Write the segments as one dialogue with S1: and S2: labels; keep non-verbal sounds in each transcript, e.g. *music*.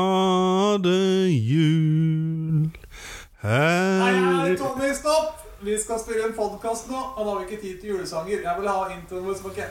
S1: Glade jul
S2: Nei,
S1: her
S2: nei, Tony, stopp! Vi skal spille en podkast nå, og da har vi ikke tid til julesanger. Jeg vil ha introen vår som ikke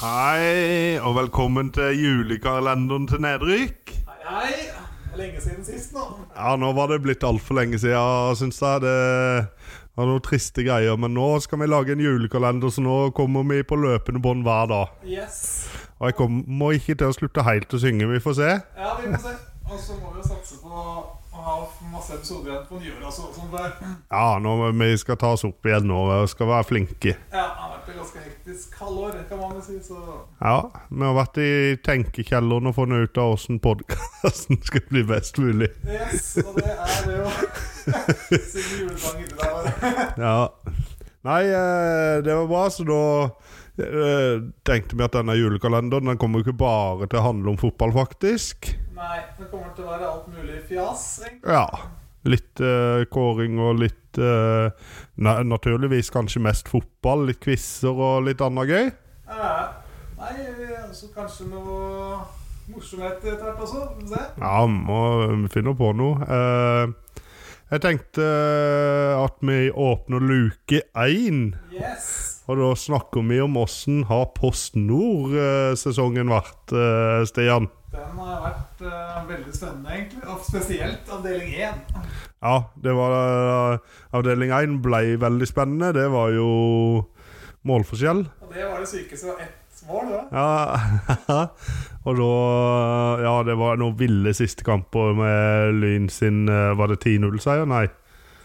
S1: Hei, og velkommen til julekalenderen til Nedrykk.
S2: Hei, hei. Det er lenge siden sist nå.
S1: Ja, nå var det blitt altfor lenge siden, syns jeg. Det var noen triste greier, men nå skal vi lage en julekalender, så nå kommer vi på løpende bånd hver dag.
S2: Yes.
S1: Og jeg kommer ikke til å slutte helt å synge, vi får se.
S2: Ja, vi får se. Og så må vi jo satse på å ha masse episoder igjen på nyåret og så- sånn. der.
S1: Ja, nå, vi skal ta oss opp igjen nå og skal være flinke.
S2: Ja, det har vært et ganske hektisk halvår, kan man jo si, så
S1: Ja, vi har vært i tenkekjelleren og funnet ut av åssen podkasten *laughs* skal bli best mulig.
S2: Yes, og det er det jo. *laughs* Siden julesanger til deg bare.
S1: Ja. Nei, eh, det var bra, så da eh, tenkte vi at denne julekalenderen den kommer jo ikke bare til å handle om fotball, faktisk.
S2: Nei, det kommer til å være alt mulig fjas. egentlig.
S1: Ja. Litt eh, kåring og litt eh, na Naturligvis kanskje mest fotball. Litt quizer og litt annet gøy.
S2: Ja, Nei, så kanskje noe morsomhet etter hvert også. Vi får se.
S1: Ja, vi må vi finner på noe. Eh, jeg tenkte eh, at vi åpner luke én.
S2: Yes!
S1: Og da snakker vi om åssen har Post Nord-sesongen vært, eh, Stian?
S2: Den har vært eh, veldig spennende, egentlig. Og spesielt avdeling 1.
S1: Ja, det var eh, Avdeling 1 ble veldig spennende. Det var jo målforskjell.
S2: Og det var det sykeste. Det var ett mål, det.
S1: Ja, *laughs* og da eh, Ja, det var noen ville siste kamper med Lyn sin eh, Var det 10-0-seier? Nei.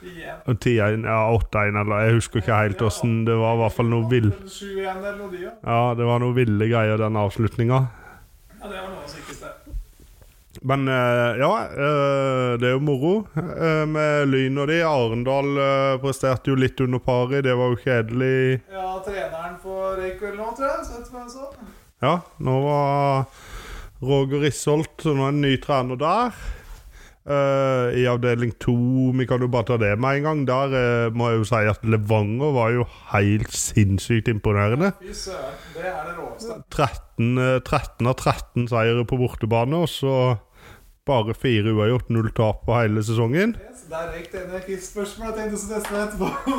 S2: 10-1.
S1: 10-1, ja 8-1, eller jeg husker ikke helt åssen. Det var i hvert fall noe vill...
S2: 7-1 eller noe de, ja.
S1: Ja, det var noe ville greier, den avslutninga.
S2: ja. Det var noe av det sykeste.
S1: Men eh, ja, eh, det er jo moro eh, med Lyn og de. Arendal eh, presterte jo litt under pari, det var jo kjedelig.
S2: Ja, treneren på Reykjell nå, tror jeg. Så vet du hvem jeg så.
S1: Ja, nå var Roger Risholt så nå er det en ny trener der. Eh, I avdeling to, vi kan jo bare ta det med en gang. Der eh, må jeg jo si at Levanger var jo helt sinnssykt imponerende.
S2: Fy søren. Det er det råeste.
S1: 13, eh, 13 av 13 seire på bortebane, og så bare fire uavgjort, null tap på hele sesongen.
S2: Yes, der røyk det ene quiz-spørsmålet. Jeg tenkte så teste etterpå.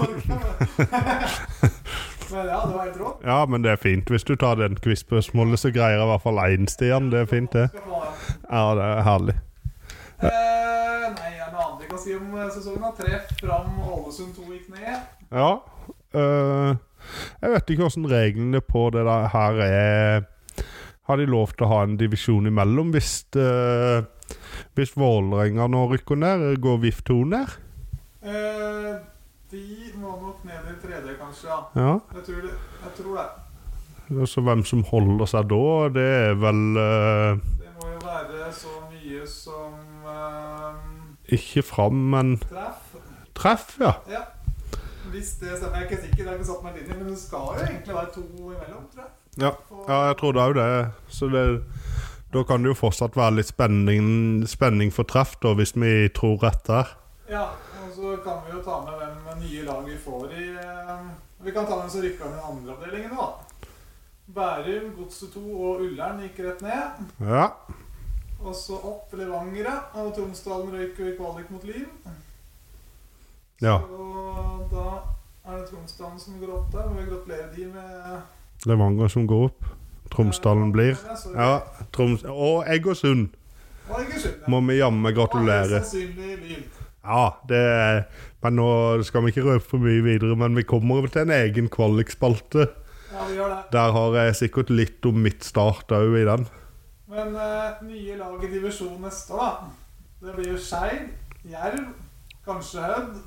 S2: *laughs* Men ja, det var helt rått.
S1: Ja, men det er fint. Hvis du tar den quiz-spørsmålet, så greier jeg i hvert fall én, Stian. Det er fint, det.
S2: Skal få ha det.
S1: Ja, det er herlig.
S2: Eh, nei, er det noe annet vi kan si om eh, sesongen? da? Treff fram Ålesund 2 gikk ned.
S1: Ja. øh, jeg vet ikke hvordan reglene på det der her er. Har de lov til å ha en divisjon imellom hvis, øh, hvis Vålerenga nå rykker ned? eh, Går VIF 2 ned?
S2: Eh, de må nok ned i tredje, kanskje. ja.
S1: Ja.
S2: Jeg tror det. Jeg tror det.
S1: Så hvem som holder seg da, det er vel øh,
S2: det må jo være så mye som eh,
S1: ikke fram, men
S2: treff.
S1: treff, ja.
S2: Ja. Hvis det stemmer. Jeg er ikke sikker, jeg har ikke satt meg inn i, men det skal jo egentlig være to imellom, tror jeg.
S1: Ja, ja jeg trodde òg det. Så det, da kan det jo fortsatt være litt spenning, spenning for treff, da, hvis vi tror rett der.
S2: Ja, og så kan vi jo ta med hvem nye lag vi får i eh, Vi kan ta med som rykker ned i andre avdelingen, da. Bærum, Godset 2 og Ullern gikk rett ned.
S1: Ja.
S2: Og så opp Levangere, og Tromsdalen røyk jo i kvalik mot Liv.
S1: ja.
S2: Så da er det Tromsdalen som går opp der. Må vi gratulere de med
S1: Levanger som går opp. Tromsdalen blir.
S2: Ja.
S1: Ja, Troms Og Egersund
S2: Og Egersund. ja.
S1: må vi jammen
S2: Og
S1: gratulere.
S2: mest Sannsynlig Liv.
S1: Ja, det er Men nå skal vi ikke røpe for mye videre, men vi kommer over til en egen kvalikspalte.
S2: Ja, vi gjør det.
S1: Der har jeg sikkert litt om mitt start òg i den.
S2: Men eh, nye lag i divisjon neste år, da. Det blir jo Skeid, Jerv, kanskje Hødd,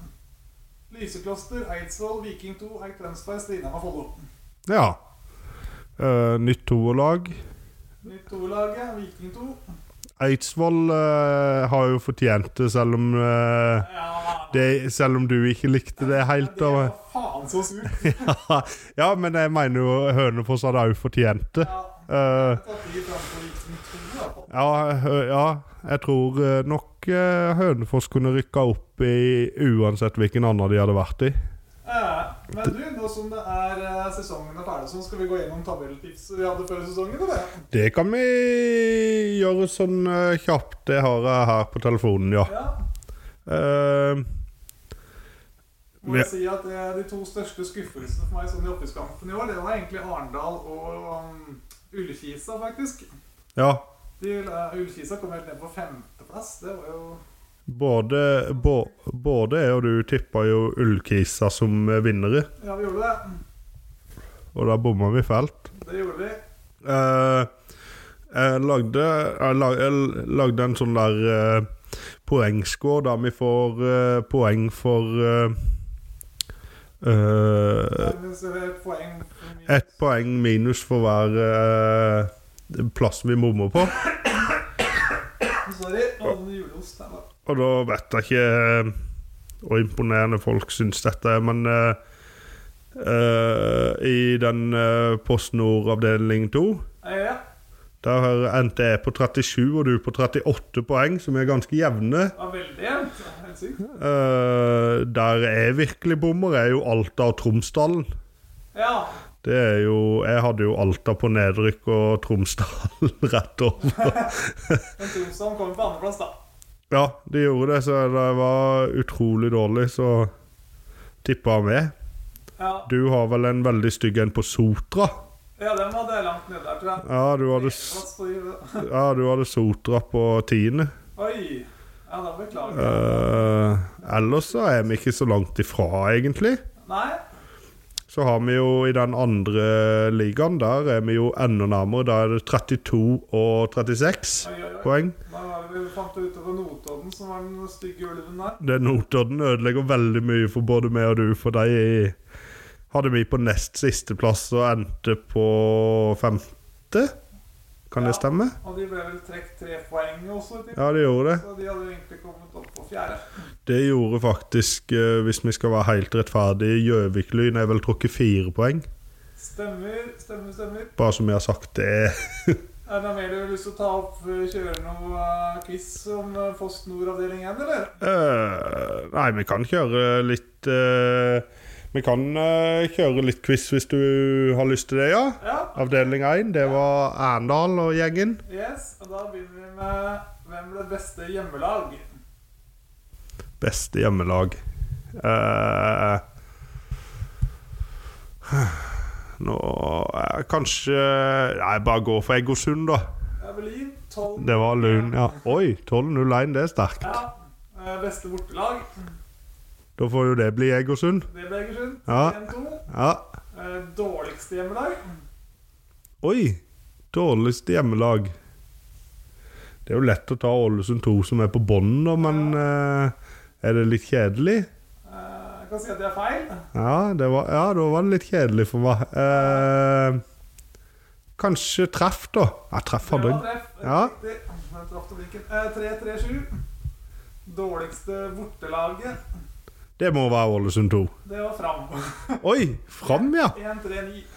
S2: Lysekloster, Eidsvoll, Viking 2, Eik Tønsberg, Strindheim og Follo.
S1: Ja. Eh, nytt toerlag.
S2: Nytt O-laget, Viking 2.
S1: Eidsvoll eh, har jo fortjent det, selv om eh,
S2: Ja,
S1: det, Selv om du ikke likte det helt.
S2: Det
S1: Og,
S2: var faen så surt.
S1: *laughs* ja, men jeg mener jo Hønefoss hadde òg fortjent det.
S2: Ja.
S1: Eh,
S2: Tatt de framfor Viking 2, da.
S1: Ja, hø- ja, jeg tror eh, nok eh, Hønefoss kunne rykka opp i uansett hvilken annen de hadde vært i.
S2: Eh, men du, nå som det er eh, sesongen er ferdig, sånn skal vi gå gjennom tabelltips vi hadde før sesongen? Eller?
S1: Det kan vi gjøre sånn eh, kjapt. Det har jeg her på telefonen, ja.
S2: Ja.
S1: Eh,
S2: Må jeg si at eh, De to største skuffelsene for meg sånn i opprykkskampen i år, det var egentlig Arendal og um, Ullkisa, faktisk.
S1: ja.
S2: De, eh, Ullkisa kom helt ned på femteplass. Det var jo
S1: Både, bå, både jeg og du tippa jo Ullkisa som eh, vinnere,
S2: Ja, vi gjorde det.
S1: og da bomma vi fælt.
S2: Det gjorde vi.
S1: Eh, jeg, lagde, jeg, la- jeg lagde en sånn der uh, poengscore der vi får eh, poeng for eh, eh,
S2: Nærmest et poeng for mye.
S1: Ett poeng minus for hver eh, plass vi bommer på.
S2: Sorry. Og en juleost her, da.
S1: Og da vet jeg ikke eh, hvor imponerende folk syns dette er, men eh, eh, i den eh, Post Nord avdeling 2
S2: Eh, ja.
S1: der endte jeg E på 37 og du på 38 poeng, som er ganske jevne.
S2: Det var veldig jevnt. Det var Helt sykt.
S1: Eh, der jeg virkelig bommer, er jo Alta og Tromsdalen.
S2: Ja.
S1: Det er jo Jeg hadde jo Alta på nedrykk og Tromsdalen *laughs* rett over.
S2: Men Tromsdalen kom på andreplass, da.
S1: Ja, de gjorde det, så da jeg var utrolig dårlig, så tippa jeg med.
S2: Ja.
S1: Du har vel en veldig stygg en på Sotra?
S2: ja, den hadde jeg langt nede der, tror jeg.
S1: Ja, du hadde, s-
S2: Plass på julet.
S1: ja, du hadde Sotra på tiende.
S2: Oi. Ja, da beklager jeg.
S1: Eh, ellers så er vi ikke så langt ifra, egentlig.
S2: Nei.
S1: Så har vi jo i den andre ligaen, der er vi jo enda nærmere. Da er det 32 og 36
S2: Oi, oi, oi.
S1: poeng.
S2: Da var det vi fant ut over Notodden, som var den stygge ulven der.
S1: Den Notodden ødelegger veldig mye for både meg og du, for de hadde vi på nest siste plass og endte på femte. Kan det
S2: Ja.
S1: stemme?
S2: Og de ble vel trukket tre poeng også, tipper jeg.
S1: Ja, det gjorde det.
S2: Så de hadde egentlig kommet opp på fjerde.
S1: Det gjorde faktisk, eh, hvis vi skal være helt rettferdige, Gjøvik-Lyn er vel trukket fire poeng.
S2: Stemmer, stemmer, stemmer.
S1: Bare som jeg har sagt det.
S2: Er det mer du har lyst til å ta opp før vi kjører noe eh, quiz om eh, Post Nord avdeling 1, eller?
S1: Eh, nei, vi kan kjøre litt eh, Vi kan eh, kjøre litt quiz hvis du har lyst til det, ja.
S2: Ja.
S1: Avdeling 1, det var Arendal og gjengen.
S2: Yes, og da begynner vi med hvem ble beste hjemmelag?
S1: Beste hjemmelag. Eh, nå eh, Kanskje Nei, bare gå for Egersund, da.
S2: Evelyn, 12.
S1: Det var Lund, ja. Oi, 12-01, det er sterkt.
S2: Ja. eh, Beste bortelag,
S1: Da får jo det bli Egersund.
S2: det ble Egersund.
S1: Ja.
S2: 1-2.
S1: Ja.
S2: Eh, Dårligste hjemmelag,
S1: Oi! Dårligste hjemmelag. Det er jo lett å ta Ålesund 2 som er på bånn, da, men eh, er det litt kjedelig?
S2: eh, jeg kan si at det er feil.
S1: Ja, det var, ja, da var det litt kjedelig for meg. Eh, kanskje treff, da. Ja, treff hadde
S2: Det
S1: jeg.
S2: var treff.
S1: Ja.
S2: Riktig. Den traff til blinken. Eh, 3-3-7. Dårligste bortelaget,
S1: Det må være Ålesund 2.
S2: det var Fram.
S1: Oi! Fram, ja.
S2: 1-3-9.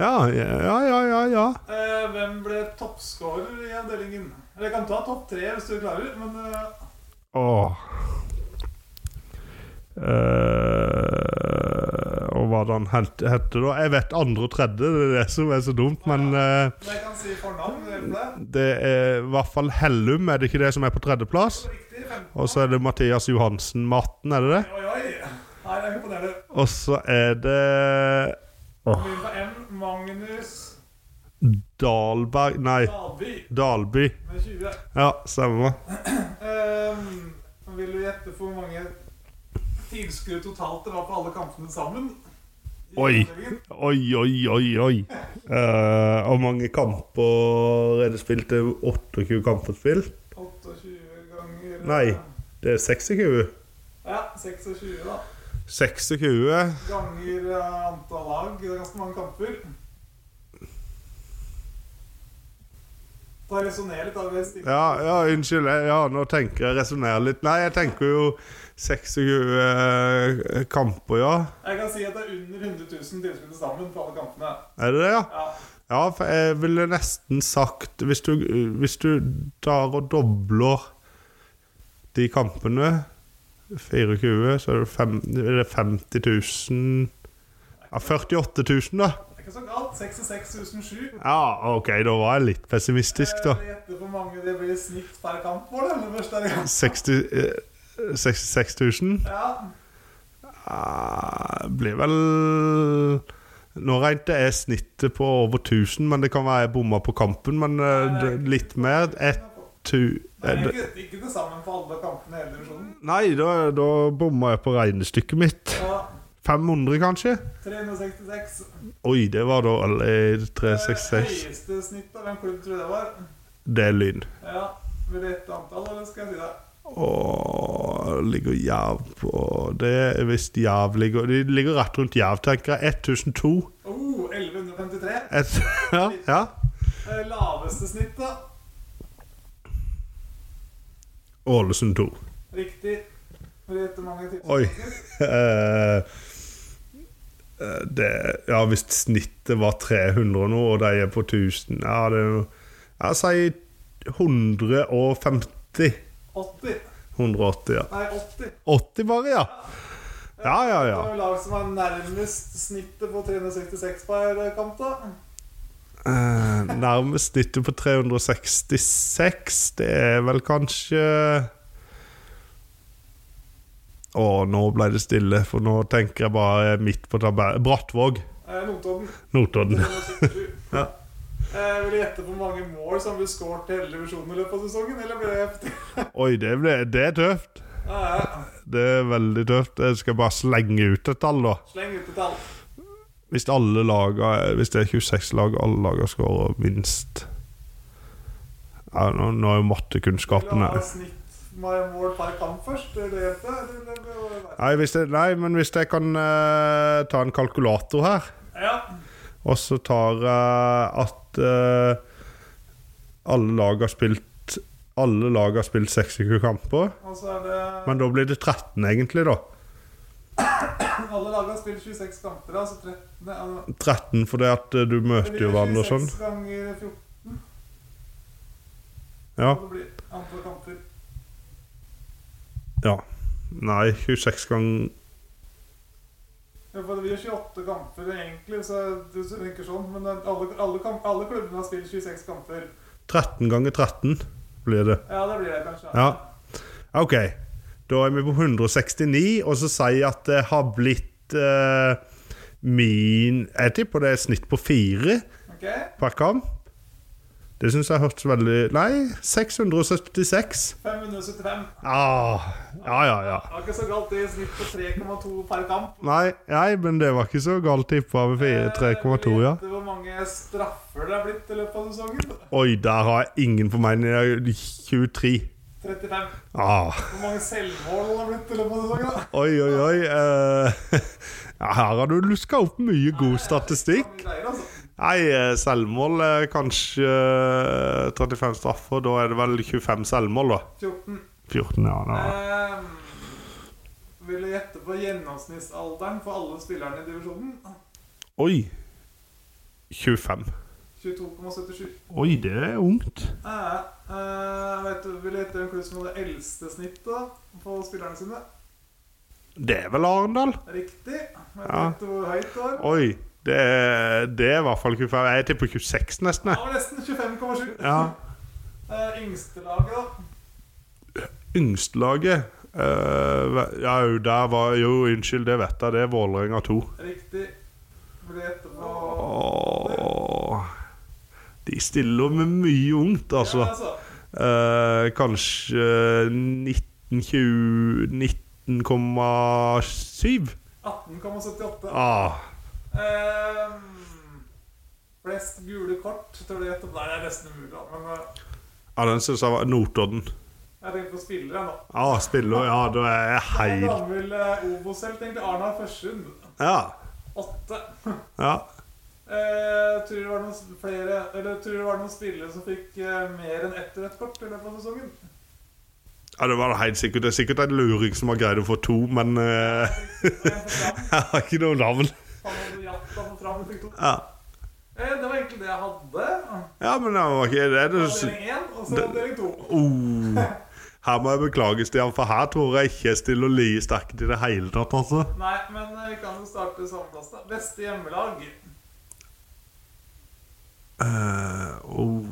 S1: Ja, ja, ja, ja. ja.
S2: Eh, hvem ble toppskårer i avdelingen? Eller jeg kan ta topp tre hvis du klarer, men eh,
S1: Åh. Eh, og hva den het- hette da? Jeg vet andre og tredje, det er det som er så dumt, men eh,
S2: jeg kan si fornavn. Det ble
S1: Det er i hvert fall Hellum, er det ikke det som er på tredjeplass?
S2: riktig. 15.
S1: Og så er det Mathias Johansen med 18, er det det?
S2: Oi, oi. Her er imponerende.
S1: Og så er det Åh,
S2: Begynner på M. Magnus
S1: Dalberg Nei,
S2: Dalby
S1: Dalby.
S2: med 20.
S1: Ja, stemmer.
S2: Eh, vil du gjette på hvor mange tilskudd totalt det var på alle kampene sammen? I
S1: Oi.
S2: avdelingen?
S1: Oi, oi, oi, oi. Eh, Hvor mange kamper er det spilt? Det er jo 28 kamper spilt.
S2: 28 ganger eh,
S1: Nei. Det er 26.
S2: Ja, 26, da.
S1: 26
S2: Ganger eh, antall lag. Det er ganske mange kamper. Ta resonner litt, da. Vi stiller.
S1: Ja, ja unnskyld. jeg- Ja, nå tenker jeg resonnerer litt. Nei, jeg tenker jo 26 kamper, ja.
S2: Jeg kan si at det er under 100 000 tilskudd til sammen på alle kampene.
S1: Er det det, ja?
S2: Ja.
S1: Ja, for jeg ville nesten sagt Hvis du, hvis du tar og dobler de kampene 24, så er det, fem, er det 50 000 Ja, 48 000, da.
S2: Det er ikke så galt. 66.007.
S1: Ja, OK, da var jeg litt pessimistisk, da.
S2: Eh, Jeg gjetter hvor mange det blir i snitt per kamp for det, eller første gang.
S1: 60, eh, 66 000
S2: Ja,
S1: ja, blir vel Nå regnet jeg snittet på over 1000, men det kan være jeg bomma på kampen, men eh, det- litt mer. Et, tu,
S2: Det
S1: eh,
S2: er
S1: det-
S2: ikke, ikke det samme for alle kampene i hele divisjonen.
S1: Nei, da, da bomma jeg på regnestykket mitt.
S2: Ja,
S1: 500, kanskje?
S2: 366.
S1: Oi, det var da alle i
S2: Det
S1: 366.
S2: høyeste snittet av en klubb tror jeg det var.
S1: Det er lyn.
S2: Ja, Vil du gjette antall, eller skal jeg si det?
S1: Og ligger Jerv på Det er visst Jerv ligger De ligger rett rundt Jerv, tenker jeg. 1002.
S2: Oh, 1153.
S1: Et, *laughs* ja, ja.
S2: Eh, Laveste snittet.
S1: Ålesund 2.
S2: Riktig. Vil du gjette hvor mange tips?
S1: Oi. Eh, det, ja, hvis snittet var 300 nå, og de er på 1000 Ja, det er jo Jeg sier 150.
S2: 80.
S1: 180, ja.
S2: Nei, 80.
S1: 80 bare, ja. Ja, ja,
S2: Det
S1: ja.
S2: var jo lag som var nærmest snittet på 366 per kamp, da.
S1: Eh, nærmest snittet på 366, det er vel kanskje Å, nå ble det stille, for nå tenker jeg bare midt på tabellen. Brattvåg.
S2: Eh, Notodden.
S1: Notodden.
S2: 377.
S1: Ja.
S2: Eh, vil du gjette hvor mange mål som blir skåret til hele divisjonen i løpet av sesongen? Eller blir det *laughs*
S1: Oi, det, ble, det er tøft.
S2: ja,
S1: Det er veldig tøft. Jeg skal bare slenge ut et tall, da.
S2: Sleng ut et tall.
S1: Hvis alle laga Hvis det er 26 lag, alle laga scorer minst ja, nå, nå er jo
S2: Vil du
S1: mattekunnskapene
S2: ha snitt med mål per kamp først? Er det det? Eller- eller- eller-
S1: nei, hvis jeg, nei, men hvis jeg kan eh, ta en kalkulator her,
S2: Ja.
S1: og så tar jeg at eh, alle lag har spilt Alle lag har spilt 26 kamper,
S2: Og så er det
S1: men da blir det 13, egentlig, da.
S2: Alle lag har spilt 26 kamper, altså 13 ja,
S1: 13 fordi at eh, du
S2: Det
S1: møter
S2: blir
S1: jo hverandre og sånn.
S2: 26 ganger 14,
S1: Ja.
S2: det blir antall kamper.
S1: Ja. Nei, 26 ganger
S2: Ja, for det blir 28 kamper egentlig, så du tenker sånn. Men alle, alle, kamp, alle klubbene har spilt 26 kamper.
S1: 13 ganger 13 blir det.
S2: Ja, det blir det kanskje.
S1: Ja. OK. Da er vi på 169, og så sier jeg at det har blitt eh, min Jeg tipper det er et snitt på fire
S2: Ok,
S1: per kamp. Det syns jeg hørtes veldig Nei, 676.
S2: 575.
S1: Ah, ja, ja, ja.
S2: Det var ikke så galt det i snitt på 3,2 per kamp. Eh,
S1: Nei, nei, men det var ikke så galt tippa med fire- 3,2, ja.
S2: Vet du hvor mange straffer det har blitt i løpet av sesongen?
S1: Oi, der har jeg ingen på meg. Jeg er 23.
S2: 35.
S1: Ah.
S2: Hvor mange selvmål det har blitt i løpet av sesongen? da?
S1: Oi, oi, oi. eh, *laughs* ja, her har du luska opp mye god statistikk.
S2: Mange greier, altså.
S1: Nei, eh, selvmål er kanskje eh, 35 straffer. Da er det vel 25 selvmål, da.
S2: 14.
S1: 14, ja. Da.
S2: Ehm, vil du gjette på gjennomsnittsalderen for alle spillerne i divisjonen?
S1: Oi. 25.
S2: 22,77.
S1: Oi, det er ungt.
S2: Eh, eh, vet du, vil du gjette hvem klubb som hadde eldste snittet på spillerne sine?
S1: Det er vel Arendal?
S2: Riktig. Vet du
S1: Ja.
S2: gjette hvor høyt det var?
S1: Oi. Det er, det er i hvert fall 25. Jeg tipper 26, nesten.
S2: Det
S1: jeg.
S2: var nesten 25,7.
S1: Ja.
S2: Eh, yngste laget, da.
S1: Yngstelaget eh, Ja, jo, der var Jo, unnskyld, det vet jeg. Det er Vålerenga 2.
S2: Riktig. Vil du gjette på
S1: Åh, de stiller med mye ungt, altså.
S2: Ja, altså.
S1: Eh, kanskje 1920 19,7?
S2: 18,78.
S1: Ah,
S2: Ehm, flest gule kort, tør du gjette på? Nei, det er nesten umulig, da. Men eh,
S1: ja, den syns jeg var Notodden.
S2: jeg tenker på spillere nå.
S1: Ah, spiller, ja, da er jeg
S2: Det er en
S1: heil.
S2: gammel eh, Obos-helt, egentlig. Arna Førsund.
S1: Ja.
S2: Åtte. *laughs*
S1: ja.
S2: Eh, tror du det var noen flere Eller tror du det var noen spillere som fikk eh, mer enn ett rødt kort i løpet av sesongen? *laughs*
S1: Ja, Det var det helt sikkert. Det er sikkert en luring som har greid å få to, men eh, *laughs*
S2: Han
S1: jeg har ikke noe navn.
S2: hadde jatta på fram og fikk to.
S1: Ja.
S2: Eh, Det var egentlig det jeg hadde.
S1: Ja, men det var ikke det du s-
S2: Avdeling 1, og så avdeling 2.
S1: oh. Her må jeg beklage, Stian, for her tror jeg ikke jeg stiller like sterkt i det hele tatt, altså.
S2: Nei, men eh, vi kan jo starte samme plass, da. Beste hjemmelag.
S1: Eh, oh,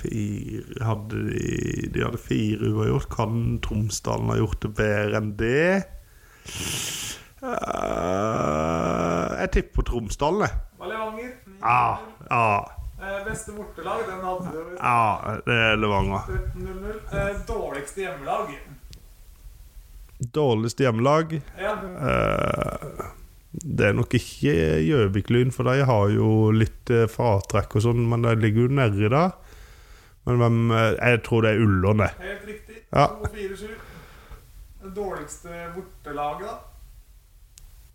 S1: fire hadde de, de hadde fire uavgjort. Kan Tromsdalen ha gjort det bedre enn det? Eh, jeg tipper Tromsdalen, jeg.
S2: Var Levanger. ni
S1: Ja, ja,
S2: Eh, Beste bortelag, den hadde du jo.
S1: ja, det er Levanger.
S2: 13-0-0. Eh, Dårligste hjemmelag.
S1: Dårligste hjemmelag
S2: Ja.
S1: eh, Det er nok ikke Gjøvik-Lyn, for de har jo litt eh, fratrekk og sånn, men de ligger jo nedi der. Men hvem eh, Jeg tror det er Ullern, det.
S2: Helt riktig.
S1: Ja.
S2: 2-4-7. Det dårligste bortelaget, da.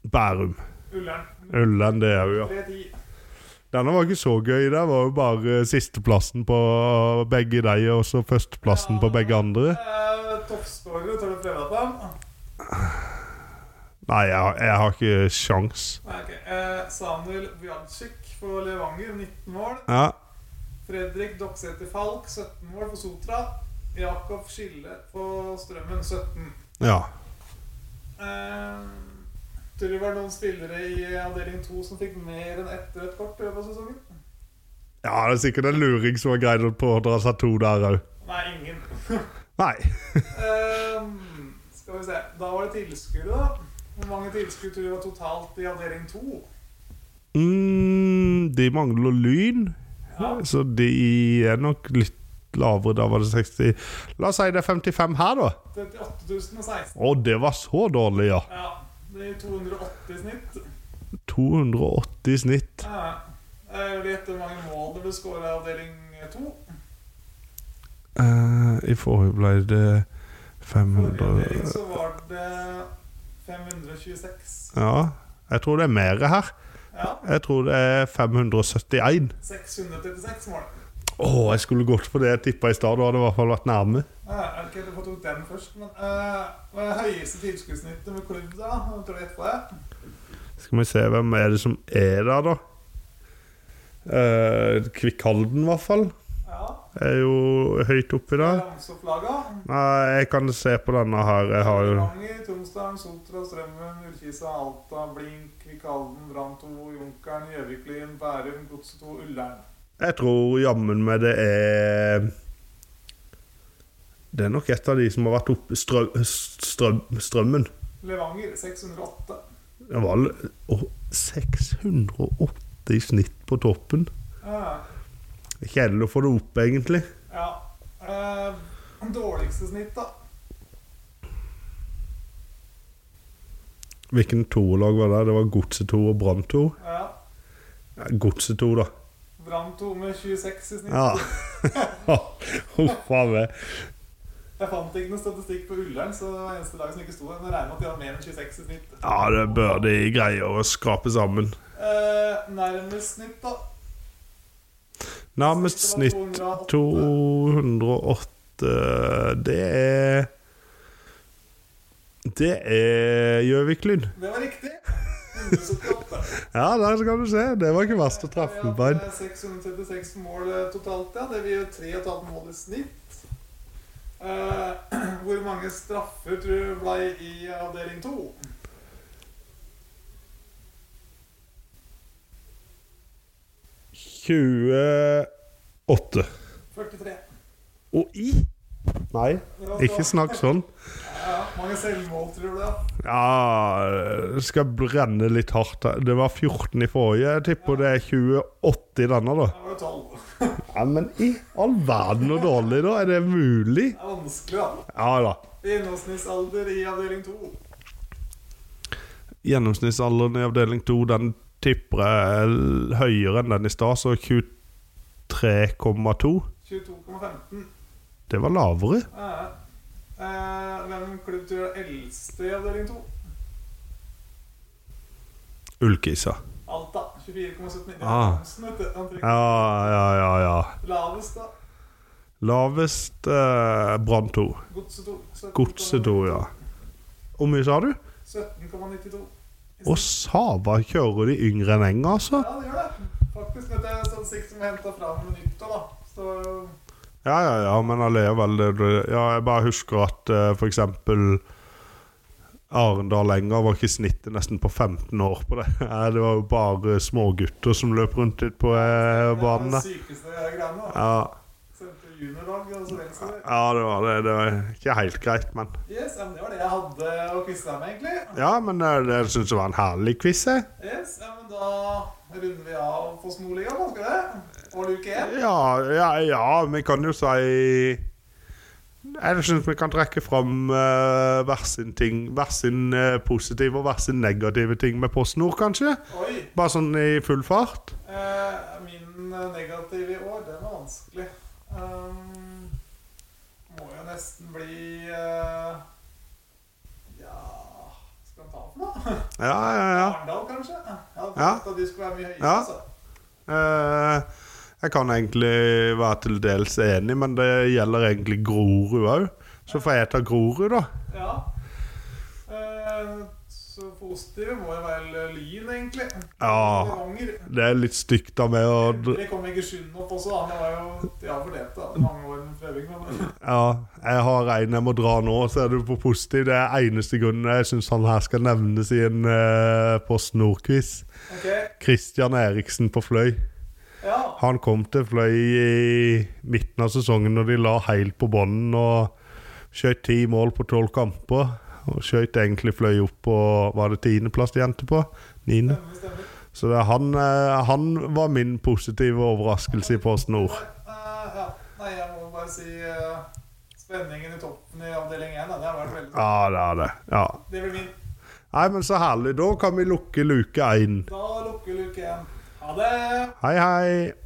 S1: Bærum.
S2: Ullern.
S1: Ullern, det er jo, ja.
S2: 3-10.
S1: Denne var ikke så gøy. Det var jo bare sisteplassen på begge deg, og så førsteplassen på begge andre.
S2: Eh, Toppskårere, tør du prøve deg på dem?
S1: Nei, jeg, har- jeg har ikke sjans.
S2: Nei, ok. Eh, Samuel Bjancic for Levanger, 19 mål.
S1: Ja.
S2: Fredrik Doksæter Falk, 17 mål for Sotra. Jakob Skille for Strømmen, 17.
S1: ja.
S2: Eh, tror du det var noen spillere i avdeling 2 som fikk mer enn ett rødt kort i løpet av sesongen?
S1: Ja, det er sikkert en luring som har greid å pådra seg to der òg.
S2: Nei, *laughs* ingen.
S1: Nei.
S2: eh, skal vi se. Da var det tilskuere, da. Hvor mange tilskuere tror du det var totalt i avdeling 2?
S1: Mm, de mangler lyn,
S2: Ja.
S1: så de er nok litt lavere. Da var det 60 La oss si det er 55 her, da.
S2: 38 016.
S1: Å, det var så dårlig, ja.
S2: Ja. Det er 280 i snitt.
S1: 280 i snitt.
S2: Ja. Eh, Vil du gjette hvor mange mål det ble skåra i avdeling 2?
S1: Eh, I forrige ble det Mm,
S2: Forrige
S1: 500
S2: avdeling så var det 526.
S1: Ja, jeg tror det er mer her.
S2: Ja.
S1: Jeg tror det er 571.
S2: 636 mål.
S1: Å, jeg skulle gått for det jeg tippa i stad. Da hadde jeg i hvert fall vært nærme.
S2: Ja, Eh, Jeg vet ikke helt hvorfor jeg tok den først, men eh, hva er høyeste tilskuddsnittet med klubb der, da? Hva Tror du etterpå det?
S1: Skal vi se hvem er det som er der, da. Eh, Kvikkhalden, i hvert fall.
S2: Ja.
S1: Er jo høyt oppi der.
S2: Ramsopplaga.
S1: Nei, jeg kan se på denne her. Jeg har jo
S2: Levanger, Tromsdalen, Sotra, Strømmen, Ullkisa, Alta, Blink, Kvikalden, Brann 2, Junkeren, Gjøviklyn, Bærum, Godset 2, Ullern.
S1: Jeg tror jammen meg det er Det er nok et av de som har vært oppe strø, strøm, Strømmen.
S2: Levanger 608.
S1: Det var l- å, 680 i snitt på toppen.
S2: Ja.
S1: Kjedelig å få det opp, egentlig.
S2: Eh, ja. Eh, dårligste snitt, da?
S1: Hvilken toerlag var det? Det var Godset 2 og Brann 2.
S2: Ja.
S1: Ja, Godset 2, da.
S2: Brann 2 med 26 i snitt.
S1: *laughs* Ja. Huff a meg.
S2: Jeg fant ikke noe statistikk på Ullern, så det var eneste lag som ikke sto der. Men jeg regner med at de har mer enn 26 i snitt.
S1: Ja, det bør de greie å skrape sammen.
S2: Eh, nærmest snitt, da.
S1: Nærmest snitt 208 Det er Det er Gjøvik-Lyn.
S2: Det var riktig. 178.
S1: Ja, der skal du se. Det var ikke verst å treffe på en.
S2: Vi har hatt, eh, 636 mål eh, totalt, ja. Det blir jo 3,5 mål i snitt. Eh, *clears throat* hvor mange straffer tror du ble i avdeling 2?
S1: Åtte.
S2: 43.
S1: Og i Nei,
S2: Det var
S1: ikke
S2: så-
S1: snakk sånn.
S2: Ja, mange selvmål, tror du det?
S1: Ja, det skal brenne litt hardt her. Det var 14 i forrige. Jeg tipper det er 28 i denne, da.
S2: Her var det 12.
S1: Ja, Men i all verden og dårlig, da. Er det mulig?
S2: Det er vanskelig, da.
S1: Ja da.
S2: Gjennomsnittsalder i avdeling 2.
S1: Gjennomsnittsalderen i avdeling 2 den tipper jeg er høyere enn den i stad, så 23,2.
S2: 22,15.
S1: Det var lavere.
S2: Eh, eh, hvem klubb tror du er eldste i avdeling 2?
S1: Ullkisa.
S2: Alta. 24,79.
S1: Ah.
S2: Hansen, vet du. Han trekker
S1: Ja, ja, ja. ja.
S2: Lavest, da.
S1: Lavest eh, Brann 2.
S2: Godset 2.
S1: Godset 2, ja. Hvor mye sa du?
S2: 17,92.
S1: Og Sava kjører de yngre enn Eng, altså.
S2: Ja, det gjør det. Faktisk, dette er sånn sikt som jeg henta fram nytt av, da. Så
S1: Ja, ja, ja, men allikevel det, det- ja, Jeg bare husker at eh, for eksempel Arendal lenger var ikke snittet nesten på 15 år på det. *laughs* Nei, det var jo bare smågutter som løp rundt litt på eh, banen der.
S2: Det er det sykeste greiene. da.
S1: Ja,
S2: Sendte juniorlag og så venstre.
S1: ja, det var det. Det var ikke helt greit, men
S2: Yes, ja, men det var det jeg hadde å kvisse deg med, egentlig.
S1: Ja, men eh, det syns jeg var en herlig quiz, jeg.
S2: Yes, ja, men da runder vi av på Småligaen, da, skal vi det? Og luke én.
S1: Ja, ja, ja, vi kan jo si jeg syns vi kan trekke fram eh, hver sin ting Hver sin eh, positive og hver sin negative ting med PostNord, kanskje?
S2: Oi.
S1: Bare sånn i full fart?
S2: Eh, min eh, negative i år, den var vanskelig. Um, må jo nesten bli eh, Ja Skal han ta den, *laughs* da?
S1: Ja, ja, ja.
S2: Arendal, kanskje? Jeg hadde
S1: Ja.
S2: tenkt at de skulle være mye høyere.
S1: Ja.
S2: Altså.
S1: Eh, jeg kan egentlig være til dels enig, men det gjelder egentlig Grorud òg. Så får jeg ta Grorud, da.
S2: Ja. Eh, så positive må jo være Lyn, egentlig.
S1: Ja.
S2: Levanger.
S1: Det er litt stygt av meg å dr-
S2: Det kom ikke skynd opp også, da. Det var jo De har fordelt det mange år med prøving. Men
S1: Ja, jeg har en jeg må dra nå, så er du på positiv. Det er eneste grunnen jeg syns han her skal nevnes i en uh, Post Nord-quiz.
S2: OK.
S1: Christian Eriksen på Fløy.
S2: Ja.
S1: Han kom til Fløy i midten av sesongen når de la helt på bånden og skjøt ti mål på tolv kamper. Og skjøt egentlig Fløy opp på Var det tiendeplass de endte på? Niende.
S2: Stemmer, stemmer.
S1: Så det er han, eh, han var min positive overraskelse i Post Nord.
S2: Eh, ja. Nei, jeg må bare si eh, spenningen i toppen i avdeling 1. Da. Det har vært veldig
S1: Ja, det er det. Ja.
S2: Det blir min.
S1: Nei, men så herlig. Da kan vi lukke luke én.
S2: Da lukker luke 1. Ha det!
S1: Hei, hei.